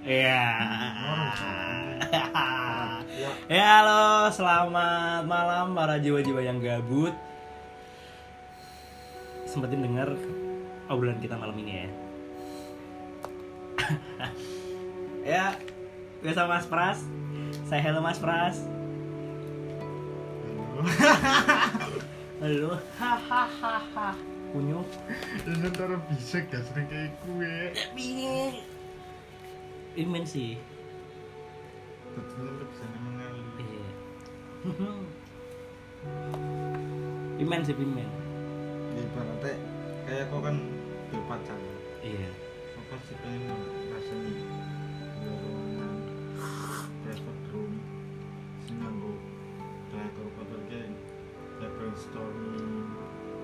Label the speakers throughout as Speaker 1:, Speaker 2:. Speaker 1: Iya. ya halo, selamat malam para jiwa-jiwa yang gabut. Sempetin denger obrolan kita malam ini ya. ya, biasa Mas Pras. Saya hello Mas Pras. Halo, hahaha. Kunyo.
Speaker 2: Ini ntar bisik gak sering kayak gue
Speaker 1: Imen sih.
Speaker 2: Betulnya lu bisa mengalir
Speaker 1: Iya. Imen sih Imen.
Speaker 2: Ibaratnya kayak kau kan dua pacar
Speaker 1: Iya.
Speaker 2: Kau pasti pengen ngerasain dua ruangan Private room Sing nganggo Kayak kau kotor kayak Kayak brainstorming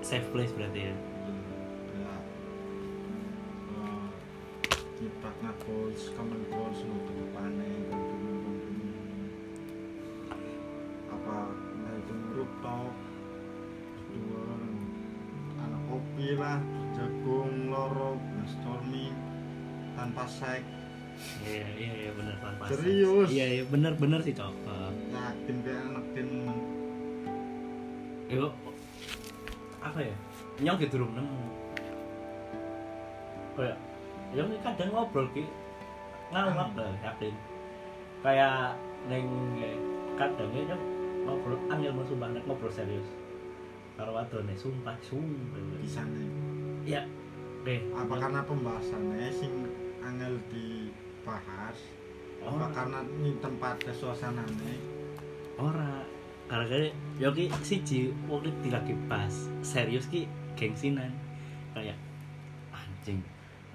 Speaker 1: Safe place berarti ya.
Speaker 2: Kayak eh, Nyepak ngakos, kamen kos, ngomong depannya Kampung-kampung Apa, nah itu rooftop Dua Anak kopi lah, jagung, lorok, brainstorming Tanpa sek,
Speaker 1: Iya iya iya benar tanpa seks.
Speaker 2: Serius?
Speaker 1: Iya iya benar benar sih cok. Eh,
Speaker 2: yakin kayak anak tim
Speaker 1: Yo apa ya? Nyong gitu durung nemu. Kayak Nyong ini kadang ngobrol ki ngalap lah kadang. Kayak neng kadang ya Nyong ngobrol angel mau sumpah nek ngobrol serius. Karo wadone sumpah sumpah.
Speaker 2: di sana
Speaker 1: Ya. Oke.
Speaker 2: Apa karena pembahasannya sing angel dibahas
Speaker 1: Oh,
Speaker 2: Apa karena ini tempatnya suasananya
Speaker 1: ora gara-gara yo ki siji wong iki lagi pas serius ki gengsinan kayak anjing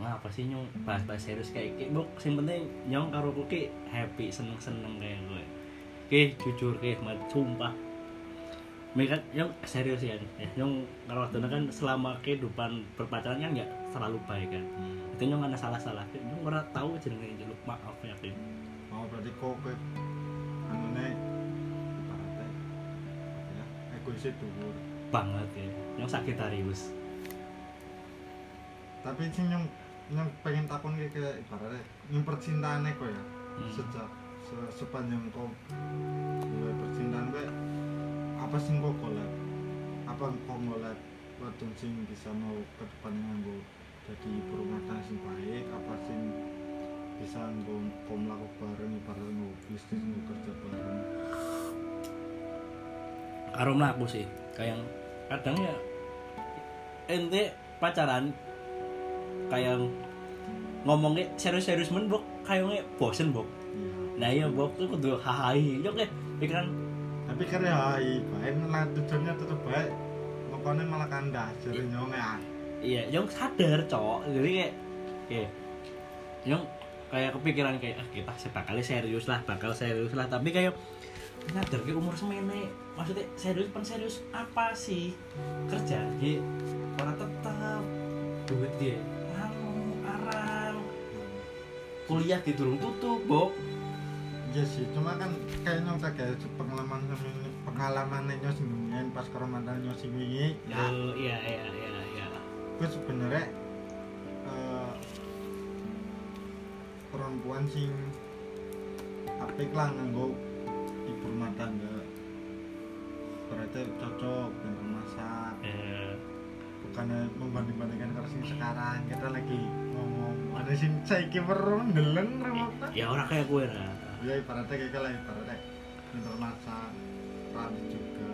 Speaker 1: ngapa sih nyong bahas-bahas serius kayak ki bok sing penting nyong karo aku ki happy seneng-seneng kayak gue ki jujur ki mat sumpah mereka nyong serius ya Ya, nyong karo waktu kan selama kehidupan berpacaran kan nggak selalu baik kan itu nyong ada salah-salah Ki, nyong ora tahu jenenge jaluk maaf ya ki
Speaker 2: Oh berarti kok ke anune ibaratnya ya egoisnya dhuwur.
Speaker 1: banget ya nyong sakit tarius
Speaker 2: Tapi sing yang yang pengen takon ke ke ibaratnya yang percintaannya kok ya
Speaker 1: Hmm.
Speaker 2: sejak se- sepanjang kau mulai percintaan kok apa sing kok golek? Apa kau golek wadon sing bisa mau ke depan nganggo jadi berumah tangga sing baik apa sing bisa nggo kau melakukan bareng ibaratnya nggo bisnis nggo kerja bareng
Speaker 1: karo mlaku sih kayak kadang ya ente pacaran kayak ngomongnya serius-serius men bok kayaknya bosen bok
Speaker 2: Iya.
Speaker 1: nah iya bok itu kudu hahai yo kayak pikiran
Speaker 2: tapi kan ya baik lah tujuannya tetep baik pokoknya malah kandas jadi nyong ya
Speaker 1: iya yang sadar cowok jadi kayak kayak yang kayak kepikiran kayak ah kita bakal serius lah bakal serius lah tapi kayak sadar kayak umur semene maksudnya serius pan serius apa sih kerja dia orang tetap duit dia anu arang kuliah di durung tutup bok
Speaker 2: iya sih cuma kan kayak nyong tak kayak pengalaman semini pengalaman nyong seminian pas ke mantan nyong semini ya
Speaker 1: Oh, iya iya iya iya
Speaker 2: gue sebenernya eh, perempuan sing apik lah nganggo ibu rumah tangga berarti cocok dan masak
Speaker 1: Eh,
Speaker 2: bukan membanding-bandingkan karo sing sekarang kita lagi ngomong ada sing saiki weruh ndeleng remota
Speaker 1: ya orang kayak gue lah
Speaker 2: ya ibaratnya kayak lah ibaratnya pinter masak rapi juga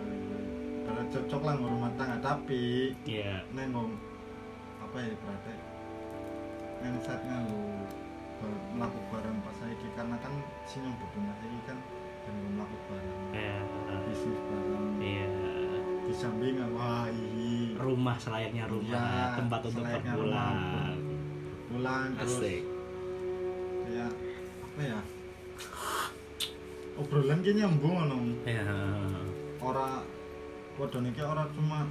Speaker 2: ibarat cocok lah ngurus rumah tangga tapi
Speaker 1: iya
Speaker 2: neng ngom apa ya ibaratnya mindsetnya lu bar- melakukan barang pas saiki karena kan sing yang berbenah saiki kan dan melakukan barang
Speaker 1: eh,
Speaker 2: bisnis barang
Speaker 1: iya
Speaker 2: di samping wah ih
Speaker 1: rumah selayaknya rumah
Speaker 2: Iya,
Speaker 1: tempat untuk
Speaker 2: selayaknya
Speaker 1: berpulang
Speaker 2: pulang terus
Speaker 1: asik
Speaker 2: kayak apa ya obrolan ki nyambung ngono
Speaker 1: ya
Speaker 2: ora wadon iki ora cuma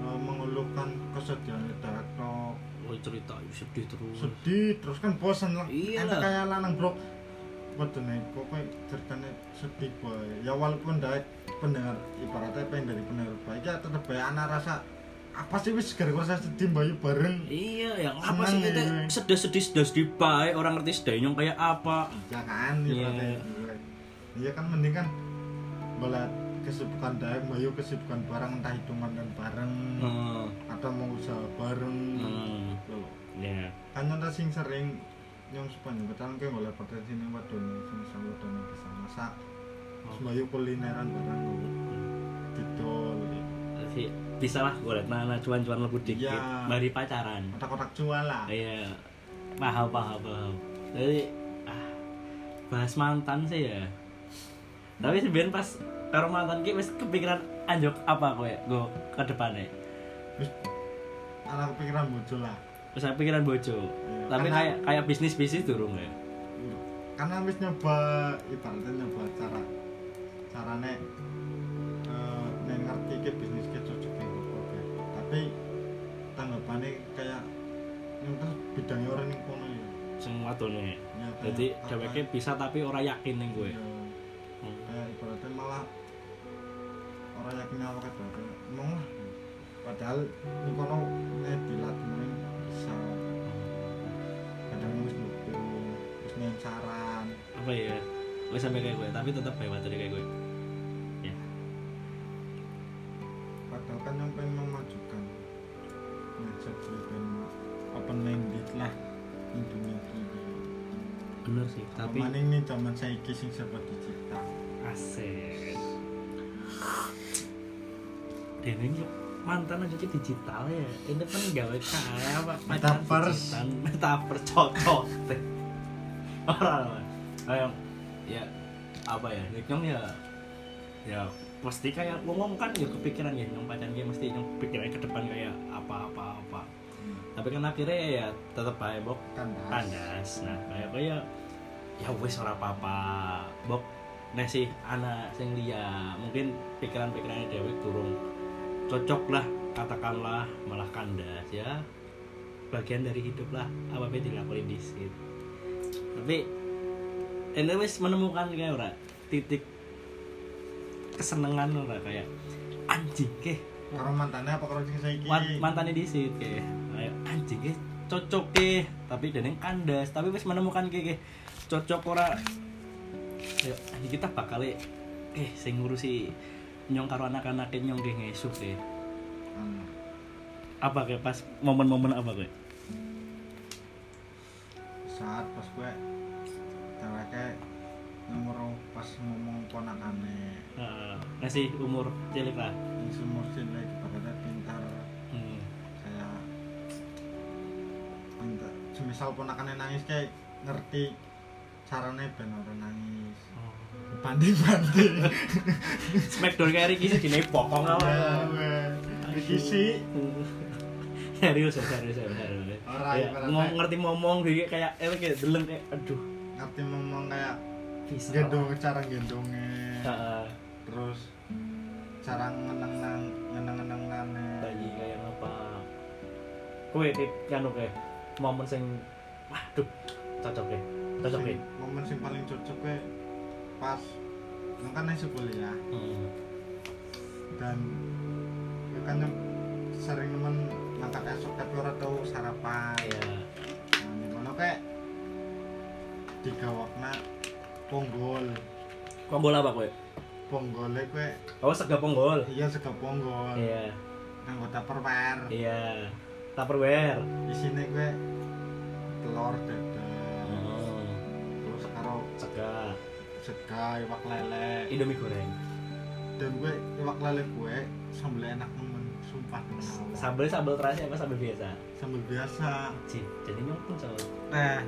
Speaker 2: eh, mengeluhkan kesedihan darat no.
Speaker 1: oh cerita sedih terus
Speaker 2: sedih terus kan bosan lah
Speaker 1: Iya
Speaker 2: Enak
Speaker 1: lah.
Speaker 2: kayak lanang bro wadon iki pokoknya ceritanya sedih boy ya walaupun dari pendengar ibaratnya pengen dari pendengar baik ya tetep bae ana rasa apa sih wis gara-gara saya sedih bayu bareng
Speaker 1: iya yang apa sih kita
Speaker 2: Seneng ya.
Speaker 1: sedih sedih sedih sedih baik orang ngerti sedih nyong kayak apa
Speaker 2: jangan ya
Speaker 1: Iya.
Speaker 2: berarti. iya kan mending kan belat kesibukan daeng bayu kesibukan bareng entah itu mandan bareng
Speaker 1: hmm.
Speaker 2: atau mau usaha bareng Gitu
Speaker 1: hmm.
Speaker 2: Loh,
Speaker 1: ya
Speaker 2: kan nyata sing sering nyong sepanjang bertahan kayak boleh potensi nih buat dunia sing sama dunia bisa masak Sembayu kulineran bareng kok
Speaker 1: Hmm.
Speaker 2: didol
Speaker 1: Tapi bisa lah gue liat mana cuan cuan lebih dikit
Speaker 2: Iya.
Speaker 1: mari pacaran
Speaker 2: kotak-kotak jual lah
Speaker 1: iya paham paham paham jadi ah, bahas mantan sih ya tapi sebenarnya pas karo mantan ki wis kepikiran anjok apa kowe go ke depannya
Speaker 2: anak kepikiran bojo lah
Speaker 1: terus saya pikiran bojo
Speaker 2: Iya,
Speaker 1: tapi
Speaker 2: karena-
Speaker 1: kayak kayak bisnis bisnis durung ya
Speaker 2: karena wis nyoba ibaratnya nyoba cara carane eh nek ngerti ke bisnis ke cocok ke apa ke. tapi tanggapannya kayak yang terus bidangnya orang yang kono ya
Speaker 1: semua tuh nih
Speaker 2: Ya, kayak
Speaker 1: jadi
Speaker 2: apa-
Speaker 1: dheweke eh? bisa tapi ora yakin ning kowe
Speaker 2: Iya.
Speaker 1: Hmm.
Speaker 2: kayak ibaratnya malah orang yakin apa kan ibaratnya emang lah padahal ini kono eh dilatih ini bisa kadang wis nyoba wis nyeng saran
Speaker 1: apa ya wis sampe kayak kowe tapi tetep bae materi kayak kowe
Speaker 2: padahal kan yang pengen memajukan ngajak dan open minded lah ning dunia ini
Speaker 1: bener sih tapi
Speaker 2: tapi maning nih zaman saya sing serba digital
Speaker 1: Asik. Dene ini mantan aja ke digital ya. Ini kan gawe kaya apa?
Speaker 2: Metaverse.
Speaker 1: Metaverse cocok. Orang Ayo ya apa ya? Nikong ya ya pasti kayak ngomong kan ya kepikiran ya nyong pacaran dia mesti nyong kepikiran ke depan kayak apa apa apa tapi kan akhirnya ya tetap baik bok
Speaker 2: kan
Speaker 1: panas nah kayak kaya ya wis ora apa-apa bok nek sih anak sing liya mungkin pikiran-pikirannya Dewi turun cocok lah katakanlah malah kandas ya bagian dari hidup lah apa yang dilakuin di situ tapi ini wis menemukan kayak ora titik kesenangan ora kayak anjing keh
Speaker 2: karo mantannya apa karo sing saiki
Speaker 1: Man- mantannya di situ kayak kayak, anjing kayak cocok ke tapi deneng kandas tapi wis menemukan kayak kayak, cocok ora Ayo, anjing kita bakal eh sing ngurusi nyong karo anak-anak nyong kayak ngesuk ke
Speaker 2: Anu,
Speaker 1: apa kayak pas momen-momen apa kayak
Speaker 2: saat pas gue ceweknya nomor pas ngomong ponakane
Speaker 1: Eh, ngasih umur cilik lah
Speaker 2: yang semur cilik ibaratnya pintar
Speaker 1: hmm.
Speaker 2: kayak pintar semisal ponakane nangis kayak ngerti caranya ben ora nangis banding banding
Speaker 1: Smackdown kayak Ricky sih gini pokong
Speaker 2: ya
Speaker 1: awal iya.
Speaker 2: iki sih
Speaker 1: serius ya serius ya serius
Speaker 2: Ora,
Speaker 1: ya,
Speaker 2: ibaratnya-
Speaker 1: ngomong ngerti ngomong kayak kayak eh kayak deleng kayak aduh
Speaker 2: ngerti ngomong kayak
Speaker 1: bisa
Speaker 2: gendong cara gendongnya
Speaker 1: Heeh.
Speaker 2: terus cara ngeneng nang ngeneng ngeneng
Speaker 1: bayi kayak apa kue kayak kan oke momen sing waduh cocok deh cocok ya. deh
Speaker 2: Sing- momen sing paling cocok ke pas nang kan nasi kuliah
Speaker 1: hmm.
Speaker 2: dan ya kan yang sering nemen makan esok tapi ora tau sarapan
Speaker 1: ya
Speaker 2: nah di mana kayak tiga wakna ponggol
Speaker 1: ponggol apa kue
Speaker 2: ponggolnya kue
Speaker 1: oh sega ponggol
Speaker 2: iya sega ponggol
Speaker 1: iya
Speaker 2: anggota perwer
Speaker 1: iya tupperware
Speaker 2: di sini kue telur dadar
Speaker 1: oh
Speaker 2: terus karo
Speaker 1: sega
Speaker 2: sega iwak lele
Speaker 1: indomie goreng
Speaker 2: dan gue iwak lele gue sambel enak nemen sumpah nemen Allah.
Speaker 1: sambel sambel terasi apa sambel biasa
Speaker 2: sambel biasa
Speaker 1: sih jadi nyongkun sambel
Speaker 2: nah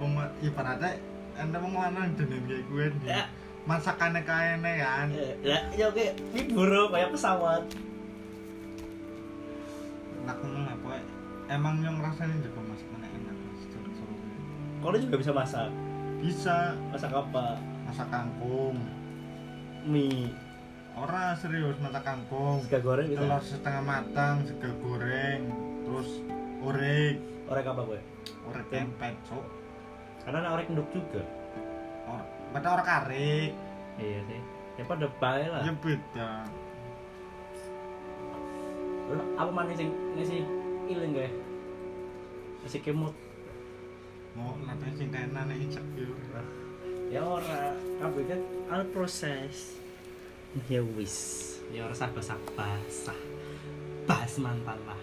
Speaker 2: mama ibaratnya anda mau lanang dengan kayak gue di
Speaker 1: Ya.
Speaker 2: masakannya kayaknya kan
Speaker 1: Eh, ya ya oke ini buruk kayak pesawat
Speaker 2: enak nemen lah pokoknya emang yang ngerasain juga masakannya enak Mas. Seru- seru.
Speaker 1: kalau juga bisa masak
Speaker 2: bisa
Speaker 1: masak apa
Speaker 2: masak kangkung
Speaker 1: mie
Speaker 2: orang serius masak kangkung
Speaker 1: sega goreng bisa
Speaker 2: telur setengah matang sega goreng terus orek
Speaker 1: orek apa kue
Speaker 2: orek tempe cok
Speaker 1: karena ada orek enduk juga
Speaker 2: Or- padahal orek karik
Speaker 1: Ya.
Speaker 2: Ah.
Speaker 1: iya sih ya pada baik lah
Speaker 2: ya beda
Speaker 1: Ono apa maneh sing ngisi ilang gawe? Ngisi kemot.
Speaker 2: mau nanti cintaan nih ijak yuk
Speaker 1: Ya ora, kabeh kan al proses. Ya wis, ya ora sabar-sabar. Sah. Bas mantan lah.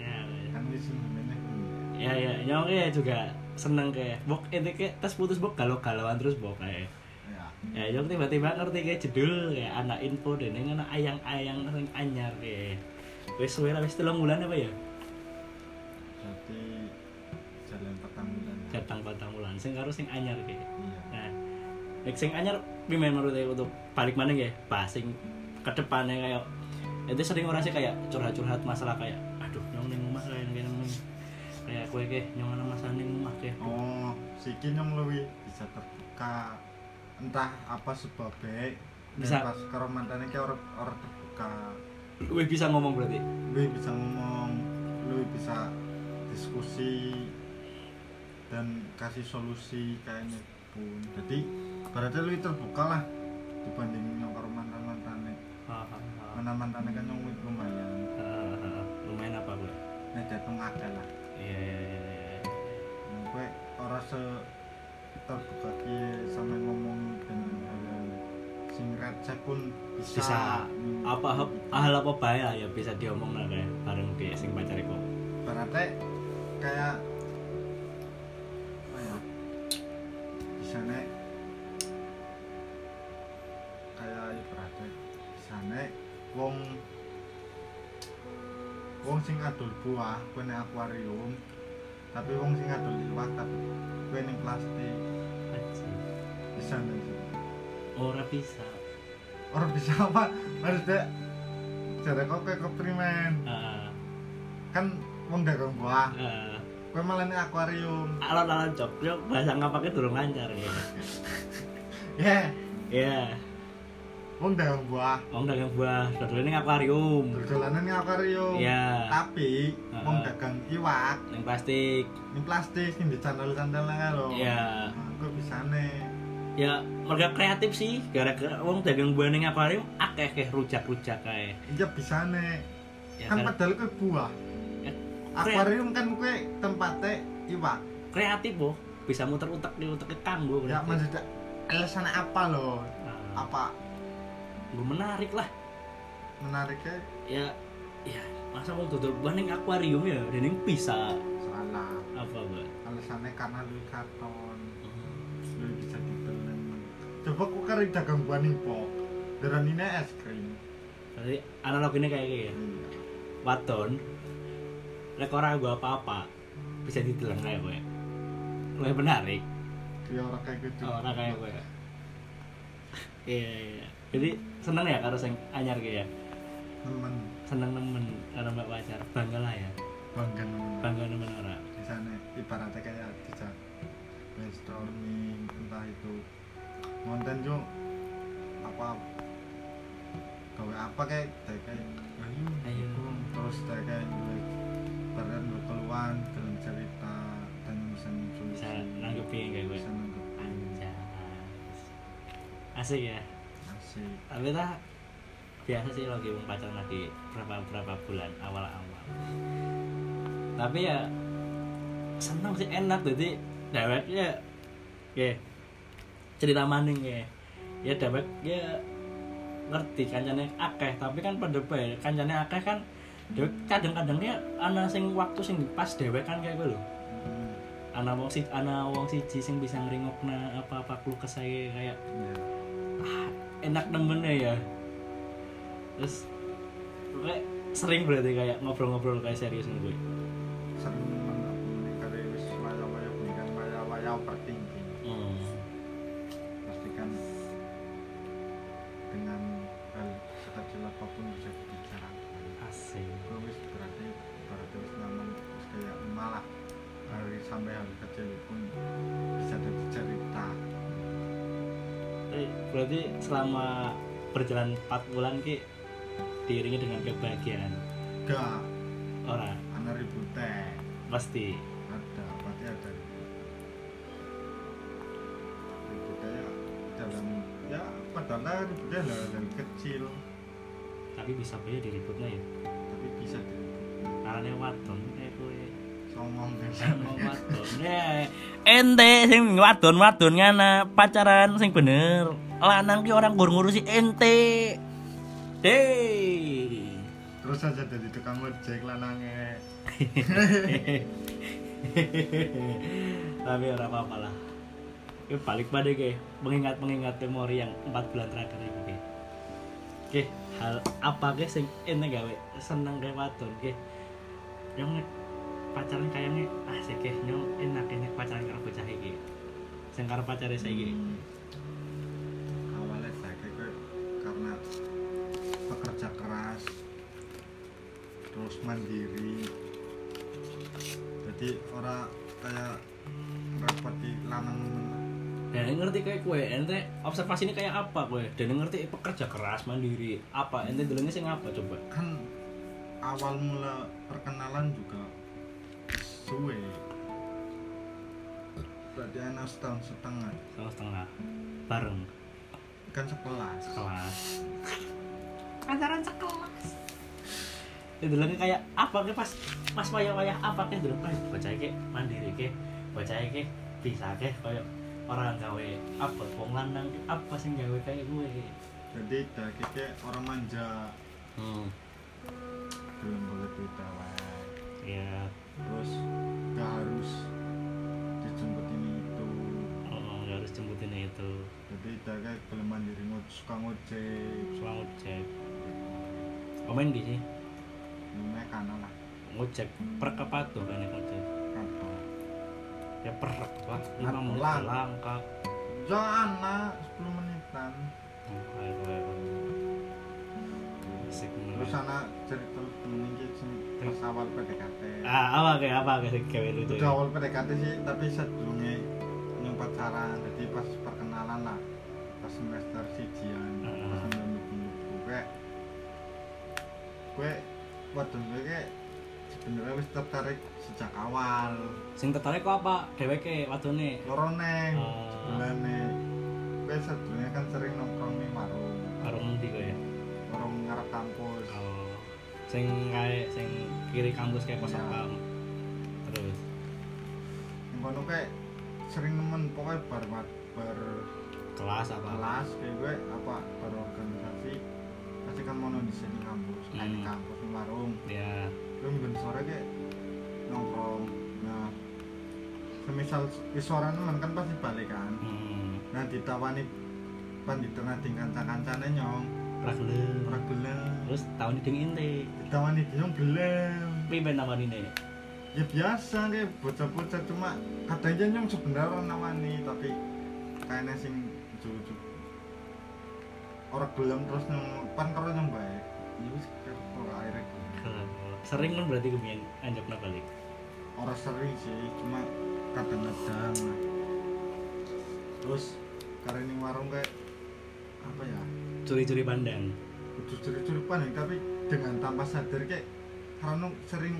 Speaker 1: Ya. wis.
Speaker 2: kan wis ngene kuwi.
Speaker 1: Ya ya, nyong ya juga seneng kayak bok ini kayak tes putus bok galau galauan terus bok kayak
Speaker 2: ya
Speaker 1: ya nyong tiba-tiba ngerti kayak jedul kayak anak info dan ini anak ayang-ayang sing anyar kayak wis suwe lah wis telung bulan apa ya
Speaker 2: jadi jalan petang bulan
Speaker 1: datang batang bulan sing karo sing anyar kayak
Speaker 2: iya
Speaker 1: Nah, nek sing anyar pimen menurut aku untuk balik mana ya? Pas sing ke depannya kayak itu sering orang sih kayak curhat-curhat masalah kayak aduh nyong ning omah kayak ngene ngene. Kayak kowe ke nyong ana masalah ning omah ke.
Speaker 2: oh siki nyong luwi bisa terbuka entah apa sebabnya
Speaker 1: Bisa.
Speaker 2: bisa pas karo mantannya kayak orang orang terbuka
Speaker 1: Kowe bisa ngomong berarti.
Speaker 2: lu bisa ngomong lu bisa diskusi dan kasih solusi kayaknya pun jadi berarti lu terbuka lah dibanding nyong karo mantan mantannya
Speaker 1: Ha, ha, ha.
Speaker 2: mantan mantannya kan nyong lumayan
Speaker 1: Ha, ha, ha. Lumayan apa kowe?
Speaker 2: nah jatuh ada lah
Speaker 1: Iya iya iya. iya.
Speaker 2: gue orang se terbuka ki sampe ngomong dengan hal sing receh pun bisa,
Speaker 1: Bisa.
Speaker 2: Hmm.
Speaker 1: Apa hal apa bae lah ya bisa diomong lah kayak bareng dia sing pacare kok.
Speaker 2: berarti kayak apa ya bisa nek kayak ibaratnya bisa nek wong wong sing adol buah kue nek akuarium tapi wong sing adol iwak tapi kue ning plastik
Speaker 1: Anjing.
Speaker 2: bisa nek
Speaker 1: Ora bisa.
Speaker 2: orang bisa apa harus dek jarak kau kayak keprimen
Speaker 1: Ah,
Speaker 2: kan wong dagang buah
Speaker 1: ah.
Speaker 2: kue malah nih akuarium
Speaker 1: alon-alon cok, yo bahasa ngapake durung lancar ya.
Speaker 2: ya
Speaker 1: Ya,
Speaker 2: wong dagang buah
Speaker 1: wong dagang buah, dodolane ning akuarium.
Speaker 2: dolanan nih akuarium
Speaker 1: Ya,
Speaker 2: tapi
Speaker 1: Heeh.
Speaker 2: wong dagang iwak
Speaker 1: ning plastik.
Speaker 2: ini plastik ini candal-candal lah lho
Speaker 1: Ya,
Speaker 2: nah, kue bisa nih
Speaker 1: ya mereka kreatif sih, gara-gara wong dagang buah ning akuarium akeh-akeh rujak-rujak kae.
Speaker 2: iya bisa nih
Speaker 1: Ya,
Speaker 2: kan
Speaker 1: kan
Speaker 2: padahal kue buah
Speaker 1: Eh,
Speaker 2: akuarium kan kue tempatnya iwak
Speaker 1: kreatif boh, bisa muter utek di utek kanggo
Speaker 2: ya
Speaker 1: berarti.
Speaker 2: maksudnya alasan apa loh
Speaker 1: Nah,
Speaker 2: apa
Speaker 1: gua menarik lah.
Speaker 2: menariknya
Speaker 1: Ya, ya masa wong dodol buah ning akuarium ya, dan ning bisa
Speaker 2: salah
Speaker 1: apa, Mbak? Hmm.
Speaker 2: alasannya karena lu karton lu bisa dibelen coba aku kan dagang buah nih pok darah ini es krim
Speaker 1: Berarti analoginya kayak gini ya. Waton lek ora gua apa-apa bisa dideleng kayak kowe. Kowe menarik.
Speaker 2: ya orang kayak gitu
Speaker 1: Oh, orang kayak gue. Iya, iya, iya. Jadi seneng ya karo sing anyar kayak ya.
Speaker 2: temen
Speaker 1: Seneng nemen karo mbak pacar. Bangga lah ya.
Speaker 2: bangga nemen
Speaker 1: Bangga nemen ora.
Speaker 2: di sana ibaratnya kayak bisa brainstorming entah itu konten juga apa gawe apa kayak kayak kayak ayo
Speaker 1: Ayo.
Speaker 2: Om. terus kayak kayak gue bareng berkeluhan dalam cerita dan bisa nyusun
Speaker 1: Bisa nanggepi kayak gue.
Speaker 2: bisa nangkep
Speaker 1: Anjas. Asik ya.
Speaker 2: asik
Speaker 1: Tapi tah biasa sih lagi wong pacaran lagi berapa berapa bulan awal-awal. Tapi ya seneng sih enak jadi deweknya ya cerita maning ya ya dewek ya ngerti kancane akeh tapi kan pada bae kancane akeh kan dewek kadang-kadang ya ana sing waktu sing pas dewek kan kayak gue lho
Speaker 2: Hmm,
Speaker 1: ana wong si ana wong siji sing bisa ngeringokna apa-apa keluh kesah kayak
Speaker 2: ya.
Speaker 1: ah, enak nemennya ya terus kayak sering berarti kayak ngobrol-ngobrol kayak serius nih gue
Speaker 2: sering menekuni kali wis wayah-wayah pernikahan wayah-wayah overthinking
Speaker 1: hmm.
Speaker 2: pastikan dengan hal sekecil apapun bisa dibicarakan
Speaker 1: asing
Speaker 2: gue wis berarti berarti wis nyaman wis kayak malah dari sampai hal kecil pun bisa jadi cerita
Speaker 1: eh, berarti selama berjalan 4 bulan ki diiringi dengan kebahagiaan
Speaker 2: gak
Speaker 1: orang
Speaker 2: anak ribut teh
Speaker 1: pasti
Speaker 2: ada pasti ada ribut ributnya ya dalam ya padahal ributnya hal-hal kecil
Speaker 1: tapi bisa aja diributnya ya
Speaker 2: tapi tapi bisa dilebokno.
Speaker 1: Arane wadon kayak kowe.
Speaker 2: Songong bisa.
Speaker 1: Sama wadon. Ya, Ente sing wadon-wadon ngana pacaran sing bener. Lanang ki orang gur ngurusi ente. Hei.
Speaker 2: Terus aja dari tukang ojek lanange.
Speaker 1: Tapi ora apa-apa lah. Ini balik pada ke mengingat-mengingat memori yang 4 bulan terakhir ini. Oke. Oke, hal apa ke sing ene gawe seneng gawe wadon ke. Yang pacaran kayaknya asik ke nyong enak ini pacaran karo bocah iki. Sing karo pacare saiki.
Speaker 2: Awalnya saya kayak karena pekerja keras terus mandiri. Jadi orang kayak repot di lanang
Speaker 1: Dan ngerti kayak kue, ente observasi ini kayak apa kue? Dan ngerti pekerja keras mandiri apa? Ente dulunya sing apa coba?
Speaker 2: kan awal mula perkenalan juga suwe berarti anak setahun setengah
Speaker 1: Setengah setengah bareng
Speaker 2: kan sekelas
Speaker 1: kelas. Pacaran sekelas. Ya dulunya kayak apa ke pas pas wayah-wayah apa ke dulu pas bocah ke mandiri ke bocah ke bisa ke kayak orang gawe apa wong lanang ke, apa sing gawe kayak gue.
Speaker 2: jadi dah keke orang manja
Speaker 1: Hmm.
Speaker 2: belum boleh beda wae.
Speaker 1: Ya,
Speaker 2: terus gak harus dijemput ini itu
Speaker 1: oh, oh, nggak harus jemputin itu.
Speaker 2: jadi dah kayak belum mandiri ngo- suka ngojek
Speaker 1: Selamat cek. Komen di sini.
Speaker 2: namanya kanan lah
Speaker 1: ngojek per kepatuh kan yang ngojek
Speaker 2: apa
Speaker 1: ya per apa
Speaker 2: Lan-
Speaker 1: lima menit
Speaker 2: lan.
Speaker 1: langkah
Speaker 2: ya anak 10 menitan
Speaker 1: Ayo, ayo, ayo. Asik bener.
Speaker 2: terus anak cerita temen ini sing pas awal PDKT
Speaker 1: ah apa kayak apa kayak gawe lucu
Speaker 2: udah
Speaker 1: ya?
Speaker 2: awal PDKT sih tapi sebelumnya yang pacaran jadi pas perkenalan lah pas semester sijian
Speaker 1: Heeh.
Speaker 2: pas sambil nyubu-nyubu kayak gue wadon gue kayak sebenarnya wis tertarik sejak awal
Speaker 1: sing tertarik kok apa dheweke wadone
Speaker 2: loroneng
Speaker 1: Ah.
Speaker 2: sebelumnya gue sebelumnya kan sering nongkrong di warung
Speaker 1: karo ngendi kok ya
Speaker 2: warung ngarep kampus
Speaker 1: oh sing kae sing kiri kampus kayak pos
Speaker 2: Iya.
Speaker 1: satpam terus
Speaker 2: yang kono kayak sering nemen pokoknya bar bar
Speaker 1: kelas apa
Speaker 2: kelas kayak gue apa berorganisasi pasti kan mau di sini kampus kayak di
Speaker 1: Hmm.
Speaker 2: kampus di warung
Speaker 1: ya
Speaker 2: gue mungkin sore kayak nongkrong nah semisal di sore teman kan pasti balik kan
Speaker 1: hmm
Speaker 2: nah ditawani pandita nanti kanca-kancane nyong
Speaker 1: ora gelem.
Speaker 2: ora gelem
Speaker 1: terus tahun ini dingin teh
Speaker 2: ditawani dia nyong gelem
Speaker 1: pipen nawani nih
Speaker 2: ya biasa kayak bocah-bocah cuma kadang aja nyong sebenarnya orang nawani tapi kayaknya sing jujur orang gelem terus nyong pan karo nyong bae ya wis kok akhirnya gelem.
Speaker 1: sering kan berarti kemudian anjokna balik
Speaker 2: orang sering sih cuma kadang-kadang lah. terus karena ini warung kayak apa ya
Speaker 1: curi-curi pandang
Speaker 2: kudu curi-curi panik ya, tapi dengan tanpa sadar kayak karena sering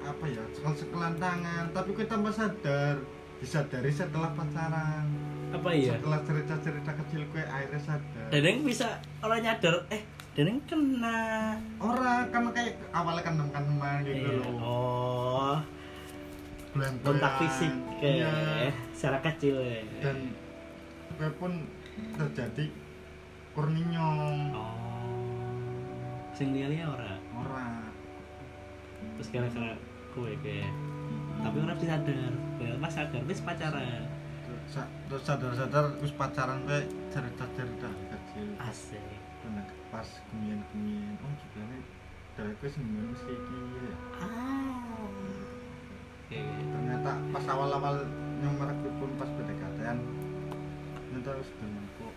Speaker 2: apa ya sekal-sekalan tangan tapi kita tanpa sadar disadari setelah pacaran
Speaker 1: apa iya
Speaker 2: setelah cerita-cerita kecil gue akhirnya sadar
Speaker 1: Deneng bisa orang nyadar, eh Deneng kena.
Speaker 2: orang kan kayak awalnya kan teman teman gitu
Speaker 1: Iya.
Speaker 2: loh
Speaker 1: Oh,
Speaker 2: Bulan-bulan.
Speaker 1: kontak fisik kayak
Speaker 2: Iya.
Speaker 1: secara kecil. ya.
Speaker 2: dan gue pun terjadi kurninyong
Speaker 1: Oh, sing dia lihat orang,
Speaker 2: orang
Speaker 1: terus kira-kira kue kayak. Tapi orang bisa sadar, ya, pas sadar, wis pacaran.
Speaker 2: Sa- terus sadar-sadar terus pacaran gue cerita-cerita kecil
Speaker 1: Asik.
Speaker 2: Bener, pas kemien kemien oh sebenarnya dari gue sembilan mesti iki ya
Speaker 1: Ah. Oke.
Speaker 2: ternyata pas awal awal nyomar pun pas pendekatan ternyata harus demen kok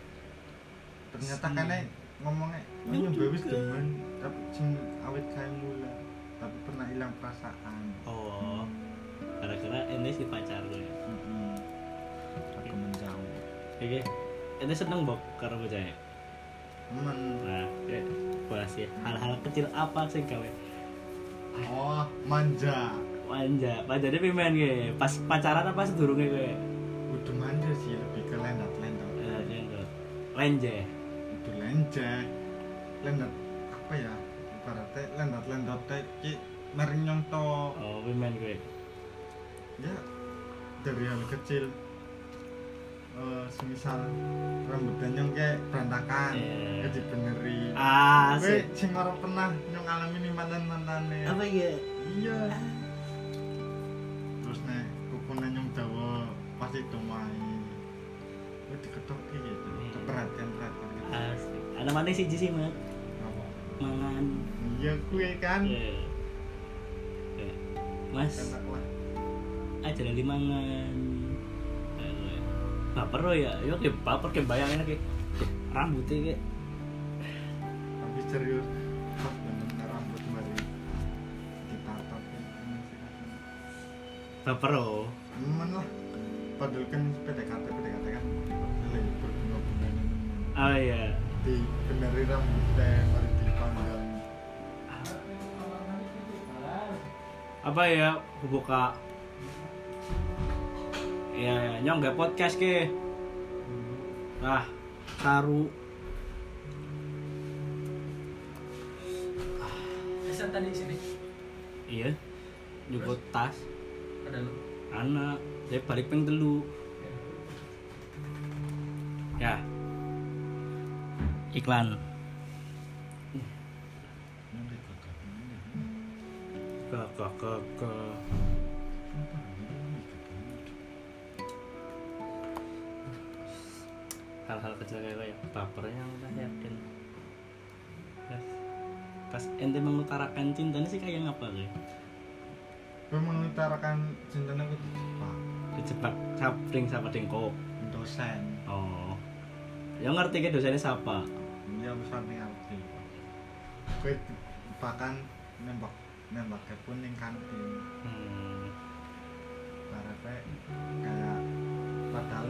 Speaker 2: ternyata
Speaker 1: Si.
Speaker 2: kene ngomongnya oh
Speaker 1: Yang
Speaker 2: yang bebas
Speaker 1: juga.
Speaker 2: demen tapi sing awet kayak mula tapi pernah hilang perasaan
Speaker 1: Oh, gara-gara ini si pacar gue.
Speaker 2: Mm-mm. aku menjauh
Speaker 1: Oke, ini seneng bok karo bocahnya.
Speaker 2: temen
Speaker 1: Nah, kayak bahas ya hal-hal kecil apa sih gawe
Speaker 2: oh manja
Speaker 1: Manja, manjanya pimen gue. Pas pacaran apa sedurunge gue?
Speaker 2: udah manja sih lebih ke lendat lendat
Speaker 1: Eh, yang gue. Lenje.
Speaker 2: udah lenjek lendat apa ya ibaratnya lendat-lendat kayak ki mari nyontoh
Speaker 1: oh gue main gue
Speaker 2: ya dari hal kecil Eh, semisal rambutan nyong kayak berantakan
Speaker 1: Iya.
Speaker 2: yeah. dibeneri
Speaker 1: ah
Speaker 2: gue sing ora pernah nyong alami nih mantan mantannya
Speaker 1: apa ya
Speaker 2: iya terus nih kukunan nyong dawa pasti domai gue diketok gitu
Speaker 1: Iya.
Speaker 2: keperhatian perhatian gitu
Speaker 1: asik ada mana sih sih mak
Speaker 2: Apa?
Speaker 1: mangan
Speaker 2: iya gue kan
Speaker 1: Iya. Iya. mas
Speaker 2: enak lah
Speaker 1: ajaran di mangan Eh, baper lo ya yo kayak baper kayak bayangin kayak rambutnya kayak
Speaker 2: tapi serius pas bener rambut mari ditato gitu.
Speaker 1: baper oh. lo
Speaker 2: teman lah padahal kan PDKT PDKT kan nilai berbunga-bunga ini.
Speaker 1: oh iya
Speaker 2: di beneri rambutnya mari dipanggang
Speaker 1: apa ya buka ya nyong gak podcast ke ah karu
Speaker 3: Pesan tadi di sini
Speaker 1: iya juga tas
Speaker 3: ada lu.
Speaker 1: anak saya balik peng telu ya iklan
Speaker 2: nanti kakak ini
Speaker 1: ke ke ke ke
Speaker 2: kenapa ini kakak ini?
Speaker 1: hal-hal kecil kayak apa ya bapernya udah yakin Pas- pas ente mengutarakan cintanya sih kayak ngapa sih
Speaker 2: gue mengutarakan cintanya gue di Jepang
Speaker 1: kejebak sapring sama dengkok
Speaker 2: dosen
Speaker 1: Oh. Ya ngerti ke dosennya siapa?
Speaker 2: dia besar nih arti gue bahkan nembak nembaknya pun yang kantin
Speaker 1: Hmm.
Speaker 2: karena kayak padahal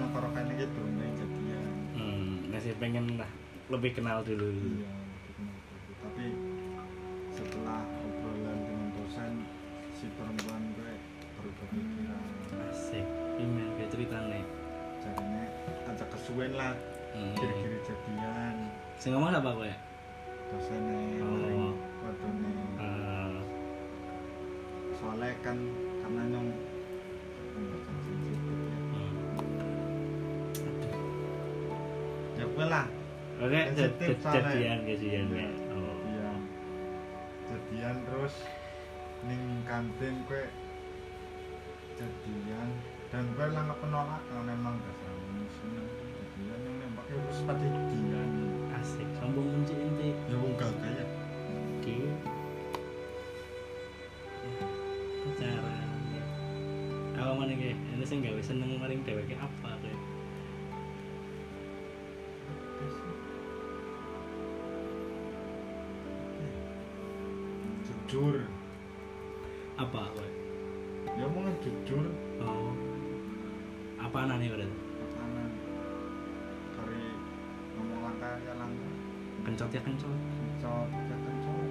Speaker 2: nyokorokan ini belum ada yang jadian
Speaker 1: Hmm, masih pengen lah lebih kenal dulu.
Speaker 2: Iya, benar, benar. tapi setelah obrolan dengan dosen si perempuan gue berubah pikiran
Speaker 1: Asik. Ini kayak cerita nih.
Speaker 2: jadinya ajak kesuwen lah
Speaker 1: Hmm.
Speaker 2: kiri-kiri jadian
Speaker 1: Sing ngomong apa gue?
Speaker 2: dosennya
Speaker 1: Oh.
Speaker 2: paling wadone
Speaker 1: Eh,
Speaker 2: soalnya kan karena nyong membaca sensitif ya ya gue lah
Speaker 1: Oke, jad-
Speaker 2: Sensitif
Speaker 1: jad-
Speaker 2: soalnya.
Speaker 1: jadian jadian ya. Oh.
Speaker 2: iya jadian terus ning kantin gue jadian dan gue lah nggak penolak karena oh, memang gak sama musuhnya jadian yang nembak ya wis pati jadian
Speaker 1: Asik. Sambung kunci inti.
Speaker 2: ya wong gak kayak
Speaker 1: Oke. Pacaran. Apa mana kayak? Ini sih nggak bisa seneng maring dewek apa kayak?
Speaker 2: jujur
Speaker 1: Apa gue?
Speaker 2: ya mau jujur
Speaker 1: Oh. Apa anane berarti?
Speaker 2: makanan dari ngomong langkah ya langkah
Speaker 1: Kencot ya kencot.
Speaker 2: kencok ya kencok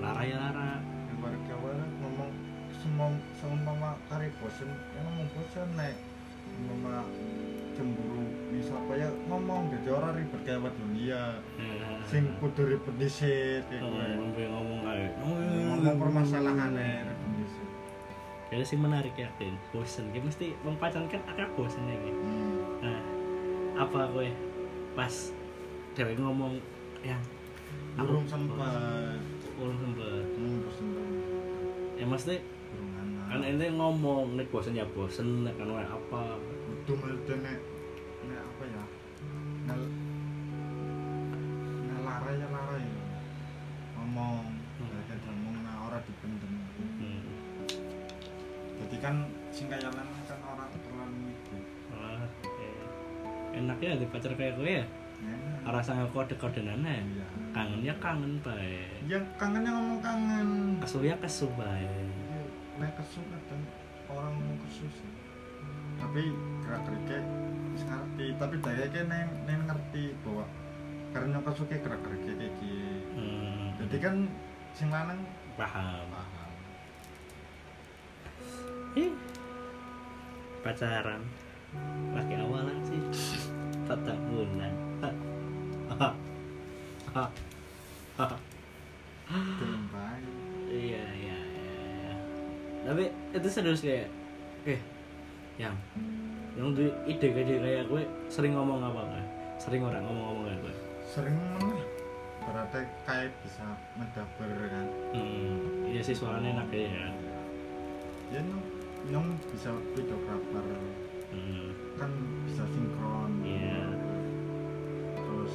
Speaker 1: Lara ya lara.
Speaker 2: yang baru kawan ngomong semua sama mama kari bosen ya ngomong bosen nek mama cemburu bisa apa ya ngomong jadi orang ribet kayak apa dunia
Speaker 1: Hmm.
Speaker 2: sing kudu ribet dhisik kayak
Speaker 1: Oh,
Speaker 2: gue.
Speaker 1: ngomong gue ngomong kayak.
Speaker 2: ngomong permasalahannya ribet dhisik
Speaker 1: Jadi sing menarik ya Din. Bosen. Ki mesti wong pacaran kan akeh bosennya gitu.
Speaker 2: hmm.
Speaker 1: Nah, apa gue pas dewek ngomong ya
Speaker 2: burung sempat
Speaker 1: urung sempet.
Speaker 2: hmm, bosen banget.
Speaker 1: Ya mesti
Speaker 2: burung anak
Speaker 1: kan ente ngomong nek bosen ya bosen nek kan apa.
Speaker 2: kudu mesti nek nek apa ya nel nel lara ya lara ya ngomong
Speaker 1: Hmm.
Speaker 2: gak ada ngomong nah orang dipendem
Speaker 1: Hmm.
Speaker 2: jadi kan sing kaya lanang kan orang terlalu mikir
Speaker 1: Wah, eh. enaknya ada pacar kayak gue ya.
Speaker 2: nah,
Speaker 1: Rasa ngekode-kodenan ya.
Speaker 2: iya
Speaker 1: kangennya kangen ya baik
Speaker 2: ya kangennya ngomong kangen
Speaker 1: kesuya kesu baik
Speaker 2: Iya, nek kesu kadang orang ngomong kesu sih tapi gerak geriknya wis ngerti tapi daya kayak neng neng ngerti bahwa karena kesu kayak gerak geriknya kayak gini
Speaker 1: hmm,
Speaker 2: jadi kan sing lanang
Speaker 1: paham
Speaker 2: paham
Speaker 1: Ih, pacaran pakai awalan sih patah bulan Ha. Ha. Ha. Ha.
Speaker 2: Belum baik.
Speaker 1: iya iya iya. tapi itu serius kayak eh yang yang tuh ide kayak kayak gue sering ngomong apa enggak sering orang ngomong-ngomong kayak gue
Speaker 2: Sering menang. Berarti kayak bisa medaber kan.
Speaker 1: hmm, iya sih suaranya enak ya
Speaker 2: Ya nyong, nyong bisa videographer
Speaker 1: hmm,
Speaker 2: kan bisa sinkron.
Speaker 1: iya
Speaker 2: Terus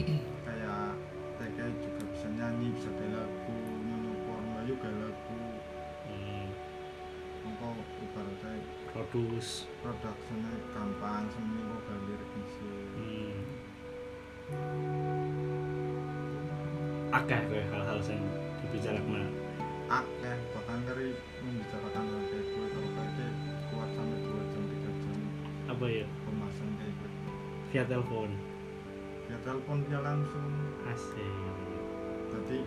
Speaker 2: kayak TK juga bisa nyanyi, bisa gaya lagu, menyukur melayu gaya lagu.
Speaker 1: hmm,
Speaker 2: Engkau ibaratnya
Speaker 1: produce
Speaker 2: produksinya gampang, seminggu gaya lirik bisa.
Speaker 1: hmm. akeh gue hal-hal yang dibicarakan
Speaker 2: akeh Ah, bahkan dari membicarakan hal kayak gue kalau kayak gue kuat sampai dua jam tiga jam
Speaker 1: apa ya
Speaker 2: pemasan kayak gue
Speaker 1: via telepon
Speaker 2: ya telepon dia langsung
Speaker 1: asik
Speaker 2: jadi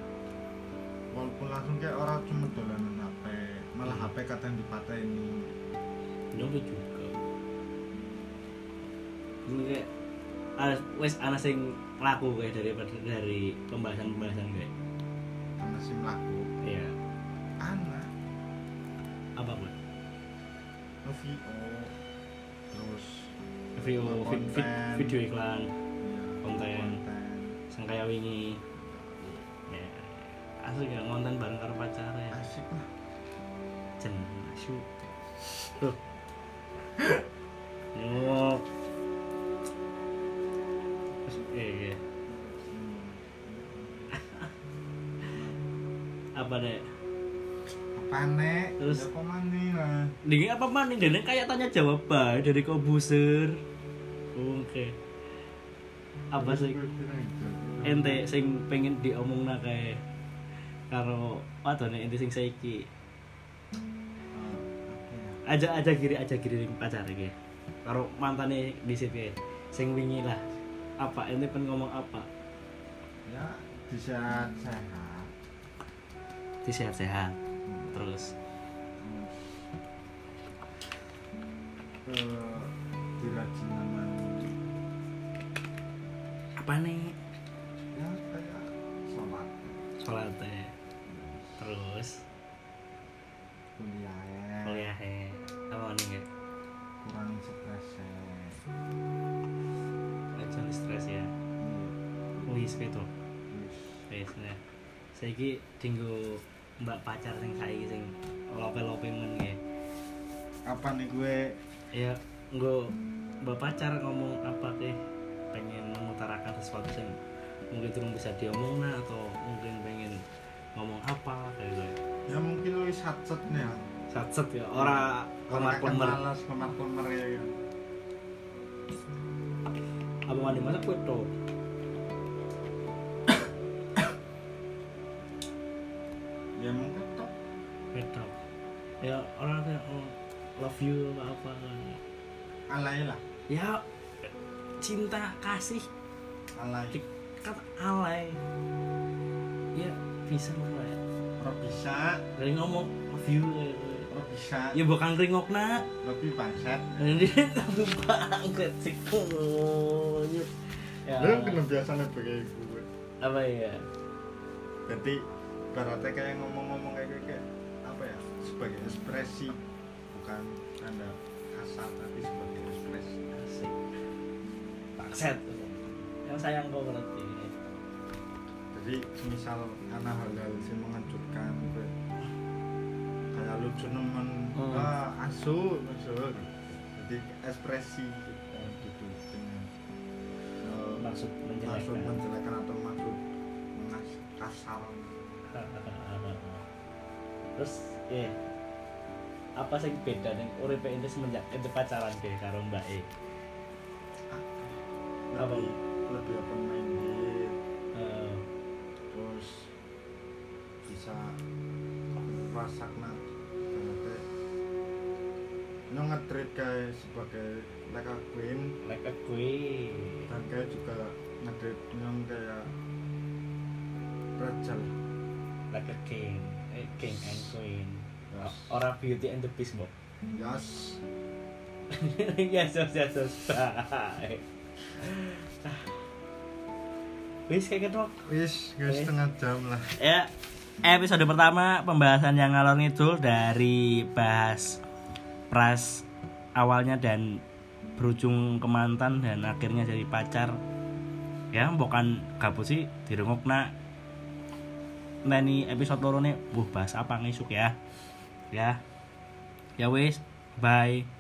Speaker 2: walaupun langsung kayak orang cuma dolanan HP malah HP kadang dipateni
Speaker 1: nyoba juga ini kayak ada wes ana sing laku kayak dari dari pembahasan pembahasan kayak
Speaker 2: karena sim laku
Speaker 1: iya
Speaker 2: anak
Speaker 1: apa gue
Speaker 2: VO terus
Speaker 1: video vid, vid,
Speaker 2: Konten.
Speaker 1: video iklan
Speaker 2: ya,
Speaker 1: Konten. sing kayak wingi ya asli gak ngonten bareng karo pacare
Speaker 2: asik lah
Speaker 1: jen asu loh nyok eh eh. apa deh
Speaker 2: apa nek Ya,
Speaker 1: Terus?
Speaker 2: terus apa mani lah
Speaker 1: Dingin apa man? Dingin kayak tanya jawab bae dari kobuser. Oh, Oke. Apa sih ente sing pengen diomongna kae karo wadone ente sing saiki?
Speaker 2: Ah,
Speaker 1: Aja aja kiri aja kiri ning pacar iki. Karo mantane dhisik kae. Sing wingi lah. Apa ente pengen ngomong apa?
Speaker 2: ya bisa sehat
Speaker 1: Di sehat-sehat. Terus
Speaker 2: ke dirajinan
Speaker 1: apa nih?
Speaker 2: ya kayak sholat
Speaker 1: Salate. Terus
Speaker 2: kuliah
Speaker 1: kuliah Apa nih? Ge?
Speaker 2: kurang stres ya.
Speaker 1: Aja stres ya. Wis gitu.
Speaker 2: Terus,
Speaker 1: Wes nah. Saiki dinggo mbak pacar sing saiki sing lope-lope men nggih.
Speaker 2: kapan nih gue
Speaker 1: Ya nggo mbak pacar ngomong apa teh pengen mengutarakan sesuatu sing mungkin belum bisa diomong lah atau mungkin pengen ngomong apa kayak gitu.
Speaker 2: ya mungkin lu satset nih ya
Speaker 1: Satset ya ora kamar pemer.
Speaker 2: malas kamar komer ya ya.
Speaker 1: Apa mandi masak kue to?
Speaker 2: ya mungkin tuh
Speaker 1: Kue to. Ya orang kayak oh, love you apa apa.
Speaker 2: alay lah
Speaker 1: Ya cinta kasih
Speaker 2: alay
Speaker 1: Dik. kata alay ya bisa lah ya
Speaker 2: Ora bisa
Speaker 1: dari ngomong love you kayak gitu.
Speaker 2: ora bisa
Speaker 1: ya bukan ringok nak
Speaker 2: lebih bangsat
Speaker 1: ini tapi banget sih konyol. ya
Speaker 2: belum kebiasaan sebagai gue
Speaker 1: apa ya
Speaker 2: jadi ibaratnya kayak ngomong-ngomong kayak kayak apa ya sebagai ekspresi bukan tanda kasar tapi sebagai ekspresi
Speaker 1: asik pakset yang sayang kau berarti
Speaker 2: jadi misal anak hal-hal yang mengejutkan gue kayak lucu nemen
Speaker 1: Hmm.
Speaker 2: ah asu maksud jadi ekspresi eh, gitu dengan eh,
Speaker 1: maksud
Speaker 2: maksud
Speaker 1: menjelekkan
Speaker 2: menjelekan atau maksud mengas- kasar
Speaker 1: terus ya apa sih beda nih urip ini semenjak itu pacaran deh karo mbak E Apa?
Speaker 2: lebih lebih open minded
Speaker 1: Eh,
Speaker 2: terus bisa rasakna berarti no ngetrit kayak sebagai like a queen
Speaker 1: like a queen
Speaker 2: dan kayak juga ngetrit nyong kayak raja lah.
Speaker 1: like a king eh, king and queen
Speaker 2: Yes.
Speaker 1: O- ora beauty and the beast Bob
Speaker 2: yes
Speaker 1: yes yes yes yes bye wis kayak gitu. ketok
Speaker 2: Wis, guys
Speaker 1: Wis.
Speaker 2: setengah jam lah.
Speaker 1: ya episode pertama pembahasan yang ngalor ngidul dari bahas pras awalnya dan berujung ke mantan dan akhirnya jadi pacar ya bukan kabut sih dirungokna nah ini episode loro nih buh bahas apa ngisuk ya ya ya wis bye